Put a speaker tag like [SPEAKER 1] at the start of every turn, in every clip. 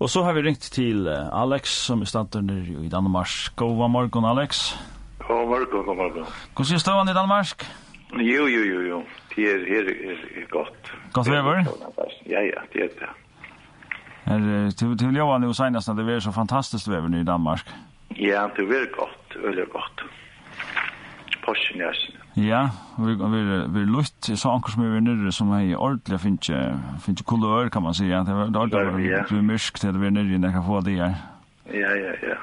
[SPEAKER 1] Og så har vi ringt til eh, Alex, som er stander nere i Danmark. God morgen, Alex.
[SPEAKER 2] God morgen, god morgen.
[SPEAKER 1] Hvordan er stående i Danmark?
[SPEAKER 2] Jo, jo, jo, jo. Det er, her er, er godt.
[SPEAKER 1] Godt vever.
[SPEAKER 2] Ja, ja, det er det.
[SPEAKER 1] Her, eh, til, til Johan jo senest at det er så fantastisk vever nere i Danmark.
[SPEAKER 2] Ja, det er godt, veldig godt. Porsen, ja.
[SPEAKER 1] Ja, vi, vi, vi er lutt. Jeg sa anker som er nere som er i ordentlig finnes ikke kulør, kan man si. Ja. Det er det er ordentlig
[SPEAKER 2] Ja.
[SPEAKER 1] å bli myrsk til det vi er nere når jeg kan få det her.
[SPEAKER 2] Ja, ja, ja.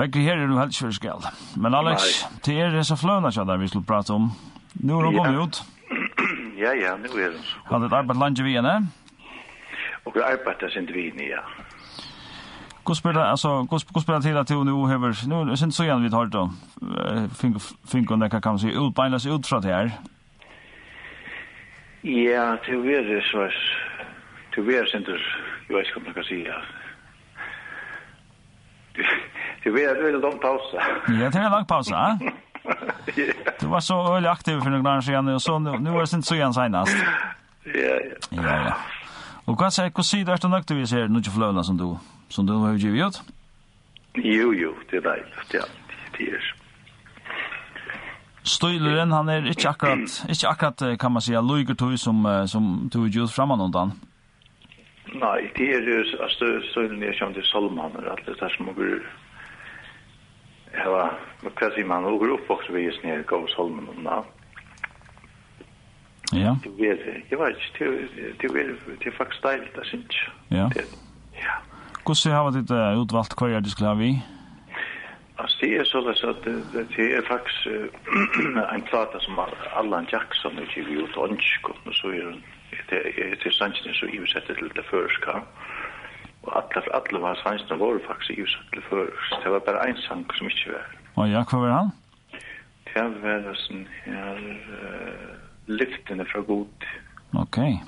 [SPEAKER 1] Vekker her er du helst for skal. Men Alex, til er disse fløna kjadar vi skulle prate om. Nå er hun
[SPEAKER 2] Ja.
[SPEAKER 1] kommet ut.
[SPEAKER 2] Ja, ja, nå er det så.
[SPEAKER 1] Hadde et arbeid landet vi henne.
[SPEAKER 2] Og vi arbeider sin vin, ja.
[SPEAKER 1] Hur spelar alltså hur hur spelar till att hon nu över nu sen så igen vi tar då fink fink och kan man se ut bylas ut från det här.
[SPEAKER 2] Ja, det er det så. Det er det sin, jeg vet ikke om jeg kan si, ja. Det er det veldig langt pause.
[SPEAKER 1] Ja, er det är en lång paus, va?
[SPEAKER 2] Ja,
[SPEAKER 1] Du var så öle aktiv för några år sedan och så nu nu är det sen så igen senast.
[SPEAKER 2] ja, ja.
[SPEAKER 1] Ja ja. Och vad säger hur ser du efter nökt vi ser nu till flöna som du som du har ju gjort?
[SPEAKER 2] Jo, jo, det er deilig, ja. Det er
[SPEAKER 1] Stoileren han är inte er akkurat inte akkurat eh, kan man säga lugetoy som eh, som tog ju framan undan.
[SPEAKER 2] Nei, det er jo støylen jeg kommer til Solmaner, at det er som åker hva, hva sier man, åker oppvokst vi just nere gav Solmen og na.
[SPEAKER 1] Ja.
[SPEAKER 2] Det vet jeg, jeg vet ikke, det- det er det er faktisk deilig, det synes jeg.
[SPEAKER 1] Ja.
[SPEAKER 2] Det- er- Ja,
[SPEAKER 1] Hur ser har det eh, utvalt kvar du skulle ha vi?
[SPEAKER 2] altså det er sånn at det, det- det er faktisk eh, en plata som Allan Jackson er har givet ut åndsk, og så er den, det er til sannsyn så iversettet til det først, ja. Og alle, alle var sannsyn var faktisk iversettet til først, det var bare en sang som ikke var.
[SPEAKER 1] Och ja, kvar var han?
[SPEAKER 2] Fjallværelsen her uh, lyftene fra god
[SPEAKER 1] Okej.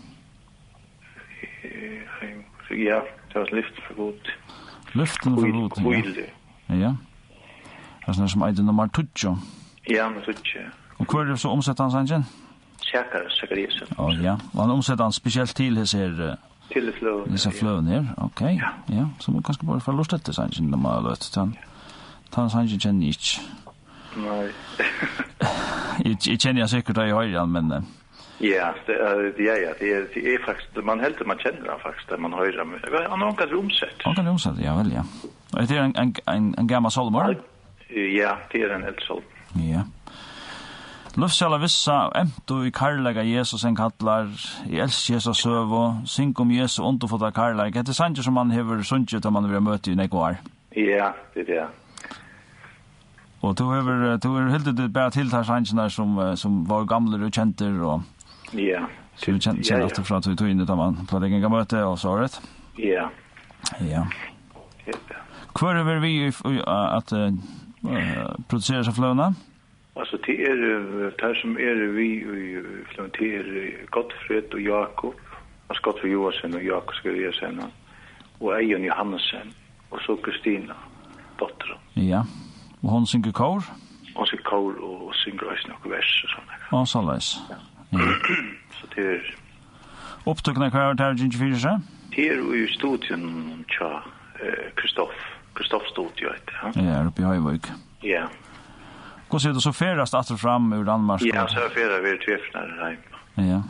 [SPEAKER 2] eh, heim. Ja, det var lyften fra god.
[SPEAKER 1] Luften för roten. ja.
[SPEAKER 2] Hvile.
[SPEAKER 1] Ja. Det er sånn som eitir nummer 20.
[SPEAKER 2] Ja, men så ikke.
[SPEAKER 1] Og hver er det så omsett han sangen?
[SPEAKER 2] Sjakar Sakariasen.
[SPEAKER 1] Å ja. Og han omsett han spesielt til hese her, eh,
[SPEAKER 2] Til fløv.
[SPEAKER 1] hese fløven her. Ok, ja. Så må vi kanskje bare få lust etter sangen når man har løtt. Han, han sangen kjenner jeg ikke.
[SPEAKER 2] Nei.
[SPEAKER 1] Jeg, jeg kjenner jeg sikkert deg i høyre, men eh,
[SPEAKER 2] Ja, det er, ja, ja, det er, det er faktisk, man helter man kjenner han faktisk, der man høyrer ham. Han har omkant romsett.
[SPEAKER 1] han kan omsett, ja vel, ja. Og det er en, en, en, en gammal solmor.
[SPEAKER 2] Ja, det er en eldsål.
[SPEAKER 1] Ja. Luftsjala vissa, emtu i karlaga Jesus en kallar, i elsk Jesus søv og syng um om Jesus underfotta karlaga. Hette sanger som man hever sunnkje til man vil møte i nekvar.
[SPEAKER 2] Ja, det er det.
[SPEAKER 1] Og du hever, du hever hildet ditt bare til tar sangene som, eh, som var gamle og kjenter og
[SPEAKER 2] Ja.
[SPEAKER 1] som vi kjent sin alltid fra at vi tog inn ut av man på det egen møte og så året.
[SPEAKER 2] Ja,
[SPEAKER 1] Ja.
[SPEAKER 2] det er det.
[SPEAKER 1] Hvor er vi i- i- at uh, produsere seg fløvna?
[SPEAKER 2] Altså, det er, eh, det som er vi i Flum, det er eh, Gottfred og Jakob, altså Gottfred Johansen og Jakob Skrivesen, og Eion Johansen, og så Kristina, dotteren,
[SPEAKER 1] Ja. Og hon synger kår
[SPEAKER 2] og så Kål er og synger også noen vers og sånne.
[SPEAKER 1] og så leis.
[SPEAKER 2] Så det er,
[SPEAKER 1] Opptøkene hver tar 24 seg?
[SPEAKER 2] det er jo i studien tja eh, Kristoff, Kristoff studio heter det, ja.
[SPEAKER 1] Ja, er oppe i Høyvøk.
[SPEAKER 2] Ja,
[SPEAKER 1] Hur ser du så färast att fram ur Danmark?
[SPEAKER 2] ja, så er flere vi er tvefnere hjemme.
[SPEAKER 1] Ja.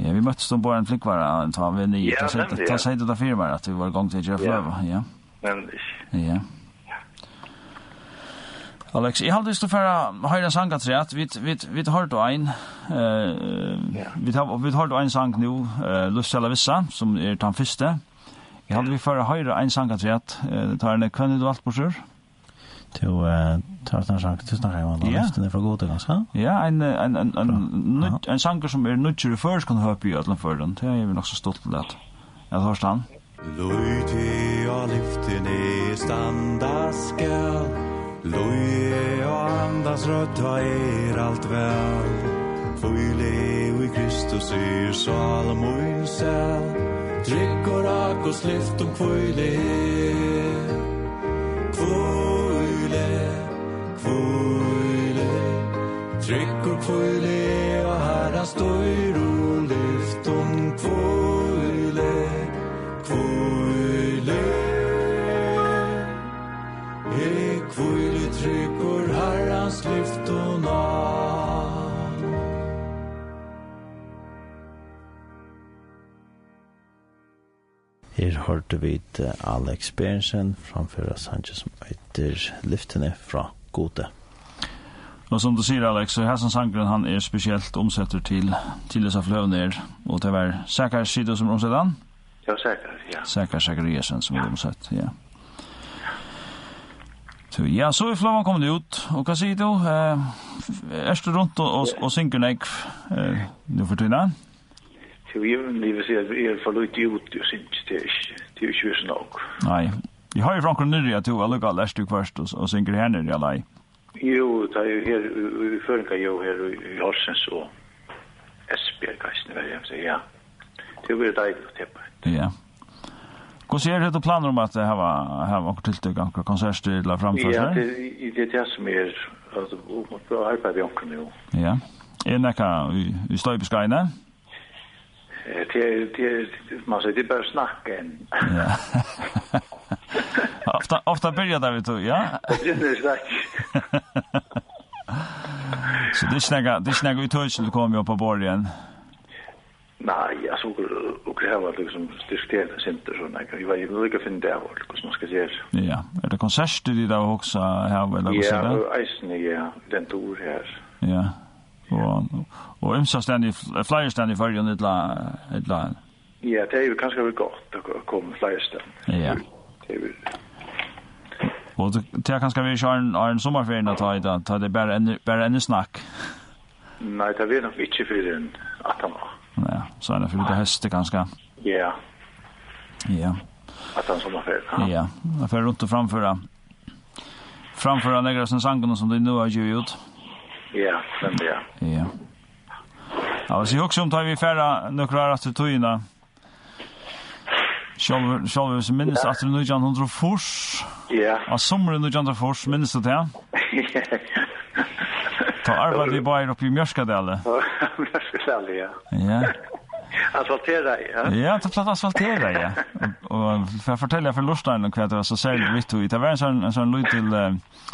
[SPEAKER 1] Ja, vi möttes då på en flickvara en tag vi ni.
[SPEAKER 2] Ja,
[SPEAKER 1] Ja,
[SPEAKER 2] nemlig, ja.
[SPEAKER 1] det säger det där firma att vi var igång till Jeff
[SPEAKER 2] Ja.
[SPEAKER 1] Löv. Ja.
[SPEAKER 2] Men
[SPEAKER 1] Ja. Alex, jag hade stå för höra sangat så att vi vi vi har då en eh
[SPEAKER 2] Ja.
[SPEAKER 1] vi har vi har då en sang nu eh Lucella Vissa er som är den första. Jag hade vi för höra en sangat så att tar en kvinn du allt er på sjur.
[SPEAKER 3] Du eh, tar den sjanken til å snakke om
[SPEAKER 1] Ja.
[SPEAKER 3] den listen er for god til ganske.
[SPEAKER 1] Ja, en en en en nut- en sanger som er nutcher first kan höpa i alla fall den. Det är ju nog så stolt det. Jag hörs han.
[SPEAKER 4] Løyti og lyftene standa skal Løye og andas rødta er alt vel Føyle og i Kristus er Salomon sel Trygg og rak og slift um om kvøyle Kvøyle, kvøyle Trygg og kvøyle og um herra støyr og lyft om kvøyle Kvøyle
[SPEAKER 3] Her hørte vi til Alex Berensen framføra Sanchez som heter Liftene fra Gode.
[SPEAKER 1] Og som du sier, Alex, så Hassan Sangren, han er spesielt omsetter til, til disse fløvner, og det var Sækar Sido som omsetter han,
[SPEAKER 2] Ja, säkert, ja.
[SPEAKER 1] Sækar Sækariasen som er omsett, ja. Så, ja, så er fløven kommet ut, og hva sier du? Eh, er du rundt og, og, og synker nek eh, nå for tiden?
[SPEAKER 2] Så jag vill säga att vi är för er lite ut och syns det är inte- det er är ju inte så nog.
[SPEAKER 1] Nei, jeg har jo franker nyrre at du har lukket lest du først og, og synker her nyrre, eller?
[SPEAKER 2] Jo, det är ju här i förrän jag här i Horsens och Esbjerg, kanske, vad jag säger, er, ja. Det er blir dejligt att täppa.
[SPEAKER 1] Ja. Hvordan er det du planer om at det her var, her var noen tiltak, noen konserter eller
[SPEAKER 2] Ja,
[SPEAKER 1] framførsler?
[SPEAKER 2] det er, det är det som er, är, alltså, och arbetar vi omkring nu.
[SPEAKER 1] Ja. Er nekka i, i støybeskreiene?
[SPEAKER 2] Eh, Det är, det är, man säger, det er är bara snack än.
[SPEAKER 1] Ja. ofta, ofta byrjar det, vet du, ja.
[SPEAKER 2] Det er är snack.
[SPEAKER 1] Så det er ikke nekka, det er ikke nekka vi tøys til du kommer jo på borg igjen.
[SPEAKER 2] Nej, alltså, och- och det här var liksom diskuterat sen inte sådana. Jag var ju lika fin där, vad man ska säga.
[SPEAKER 1] Ja. Er det konserter i dag også her, eller hva sier
[SPEAKER 2] Ja,
[SPEAKER 1] det?
[SPEAKER 2] och isen är den tur här.
[SPEAKER 1] Ja. Og, og ymsa stand i, flyer stand i fyrrjon, et eller annet.
[SPEAKER 2] Ja, det er är ju kanske väl gott att komma flesta.
[SPEAKER 1] Ja.
[SPEAKER 2] Det er är väl
[SPEAKER 1] Og det det er kanskje vi kjører en, en sommerferien å ta i dag, ta det bare en, bare en snakk.
[SPEAKER 2] Nej, det er vet nog inte för den att han var.
[SPEAKER 1] Ja, så er det for lite høste kanskje.
[SPEAKER 2] Ja,
[SPEAKER 1] Ja,
[SPEAKER 2] att han som har fel.
[SPEAKER 1] ja. Jeg får rundt og framføre. Framføre negre sin sangene som de nå har givet ut.
[SPEAKER 2] Ja, men det är.
[SPEAKER 1] Ja. Ja, hvis jeg også om tar vi færre nøkker her etter togene. Sjølv, sjølv hvis jeg minnes at det er nødvendig han drar fors.
[SPEAKER 2] Ja.
[SPEAKER 1] Av sommeren nødvendig han drar fors, minnes du det? Ta arbeid i bare oppe i Mjørskadale.
[SPEAKER 2] Jag ska sälja, er ja.
[SPEAKER 1] Ja,
[SPEAKER 2] Asfaltera, ja.
[SPEAKER 1] ja det er platt asfaltera, ja. Og, og for jeg forteller for Lorstein hva det var så særlig vitt og i. Det var en sånn, en sånn liten, eh,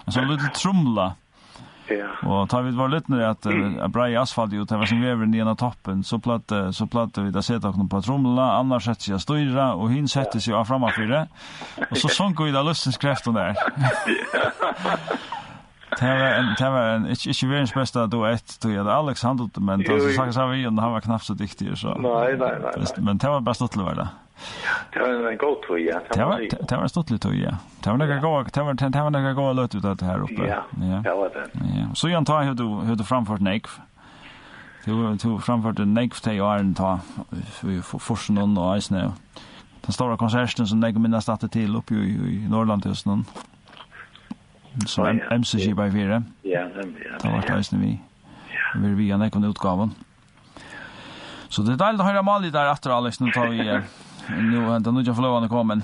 [SPEAKER 1] en sånn liten trumla.
[SPEAKER 2] Ja.
[SPEAKER 1] Og ta vid var lyttnare at
[SPEAKER 2] Mm.
[SPEAKER 1] uh, brei asfalt ut, det var som vever nere av toppen, så platte, så platte vi da sette okkur på tromla, annars sette seg av styra, og hin sette seg av framafyre, og så sunk vi da lustens kreften der. Det var en, det var en, ikke, ikke verens besta duett, tog jeg, Alex handlet, men
[SPEAKER 2] Jo,
[SPEAKER 1] da
[SPEAKER 2] jo.
[SPEAKER 1] snakkes av vi, og han var knappt så dyktig, så.
[SPEAKER 2] Nej, nej, nej. nej.
[SPEAKER 1] Men det var bare stuttelig var det.
[SPEAKER 2] Det var en god tur, ja.
[SPEAKER 1] Det var,
[SPEAKER 2] man säga.
[SPEAKER 1] det det var stuttelig tog, ja. Det var nekka gåa, det var, det var nekka gåa løt ut av det her oppe.
[SPEAKER 2] Ja, det var det.
[SPEAKER 1] Ja, så jag tar hur du hur du framfört Nick. Du du framfört en Nick till Iron ta vi får forsen någon och is nu. Den stora konserten som Nick minns att till uppe i, i Norrland just någon. Så
[SPEAKER 2] Ja,
[SPEAKER 1] en
[SPEAKER 2] ja.
[SPEAKER 1] MCG by Vera.
[SPEAKER 2] Ja, nämligen.
[SPEAKER 1] Det var
[SPEAKER 2] ja.
[SPEAKER 1] det vi. Vi vi en ekon utgaven. Så det är deilig å höra Mali där efter Alex nu tar vi eh, nu vänta nu jag får lov att komma. men-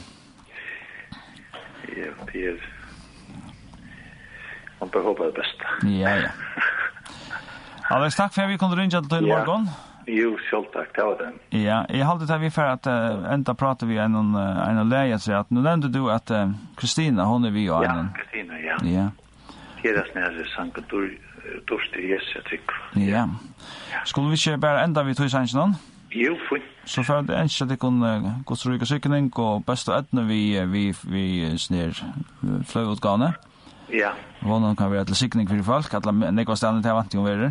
[SPEAKER 2] Ja, det är... Man behöver hoppa det bästa.
[SPEAKER 1] Ja ja. Alex, takk for at vi kunne ringe til deg i
[SPEAKER 2] Ja.
[SPEAKER 1] morgen.
[SPEAKER 2] Jo, själv tack, det var det.
[SPEAKER 1] Ja, jeg halde det vi for at uh, enda prater vi en om uh, en av leia seg at nå nevnte du at eh, Kristina, hon er vi og
[SPEAKER 2] Ja,
[SPEAKER 1] en.
[SPEAKER 2] Kristina, ja.
[SPEAKER 1] Ja,
[SPEAKER 2] Det är snära sank och durstig yes, jag tycker.
[SPEAKER 1] ja. Skulle vi ikke bare enda vi tog sanns noen?
[SPEAKER 2] Jo, fint.
[SPEAKER 1] Så for at jeg ikke at jeg kunne eh, gods og rykke sykning og best og etne vi, eh, vi, vi snir fløyutgane.
[SPEAKER 2] Ja,
[SPEAKER 1] Vånen kan være til sykning for folk, at nekva stedet til vant jo verer.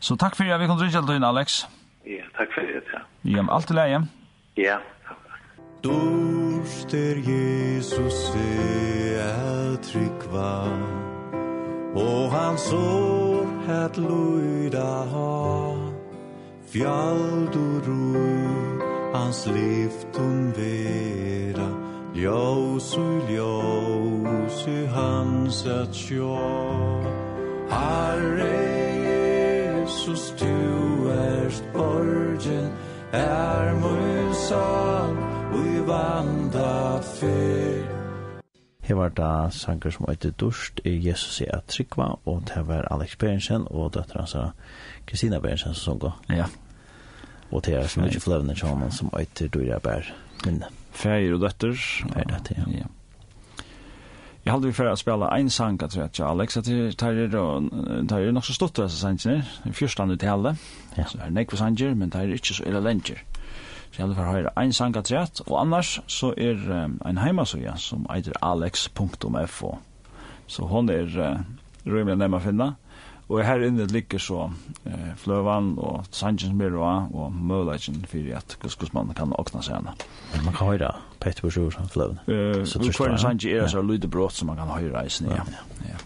[SPEAKER 1] Så um takk for at vi kunne ringe til døgn, Alex.
[SPEAKER 2] ja, tack för det, ja.
[SPEAKER 1] Ja, men alt i leie.
[SPEAKER 2] Ja,
[SPEAKER 4] Dorst er Jesus i er tryggva Og hans år het luida ha Fjald og rui hans liftum vera Ljós og ljós i hans at sjå Herre Jesus, du erst borgen Er mun sal, ui vanda fyr
[SPEAKER 3] Her var da sanger som heter Durst, i Jesus i Atrikva, og det var Alex Berensen og døtter hans Kristina Berensen som sunga.
[SPEAKER 1] Ja.
[SPEAKER 3] Og det er så mye fløvende tjaman som heter Dura Bær minne.
[SPEAKER 1] Fægir og døtter.
[SPEAKER 3] Fægir og døtter, ja.
[SPEAKER 1] ja. Jeg halde vi for å spille en sang, jeg tror jeg, til Alex, at det tar er, tar er nok så stått av disse sangene, den første han uttale,
[SPEAKER 3] Ja.
[SPEAKER 1] så er det nekve sanger, men tar er ikke så ille lenger. Så jeg vil få høre en sang at rett, og annars så er um, en heimasøya som eitir alex.fo. Så hon er uh, rymlig nemma finna, og her inne ligger så uh, fløvan og sangen som er og, og mølagen fyrir at hvordan man kan åkna seg henne.
[SPEAKER 3] Man kan høyra Petter på sjur som fløvn.
[SPEAKER 1] Uh,
[SPEAKER 3] Så
[SPEAKER 1] og
[SPEAKER 3] trist var
[SPEAKER 1] hver
[SPEAKER 3] det.
[SPEAKER 1] sange er
[SPEAKER 3] Ja.
[SPEAKER 1] så lydebrått som man kan høyra i sne.
[SPEAKER 3] Ja.
[SPEAKER 1] Ja. ja.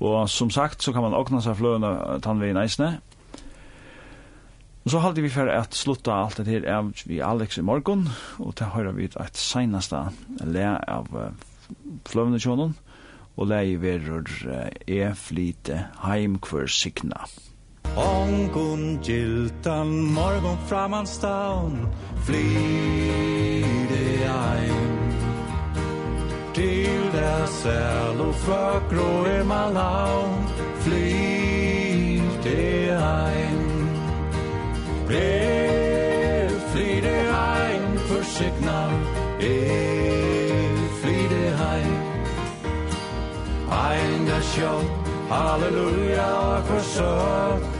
[SPEAKER 1] Og som sagt så kan man åkna seg fløvene tannveien i sne, Og så halde vi for at slutta alt det her av vi Alex i morgon, og til høyra vi et seinasta le av uh, fløvne tjonen, og le i verur uh, e flite heim hver signa.
[SPEAKER 4] Ongun gildan morgun framanstaun Flyde ein Til der sel og føkro er malaun Flyde ein Brev flyde ein Forsikna Er flyde ein Ein der sjål Halleluja for søk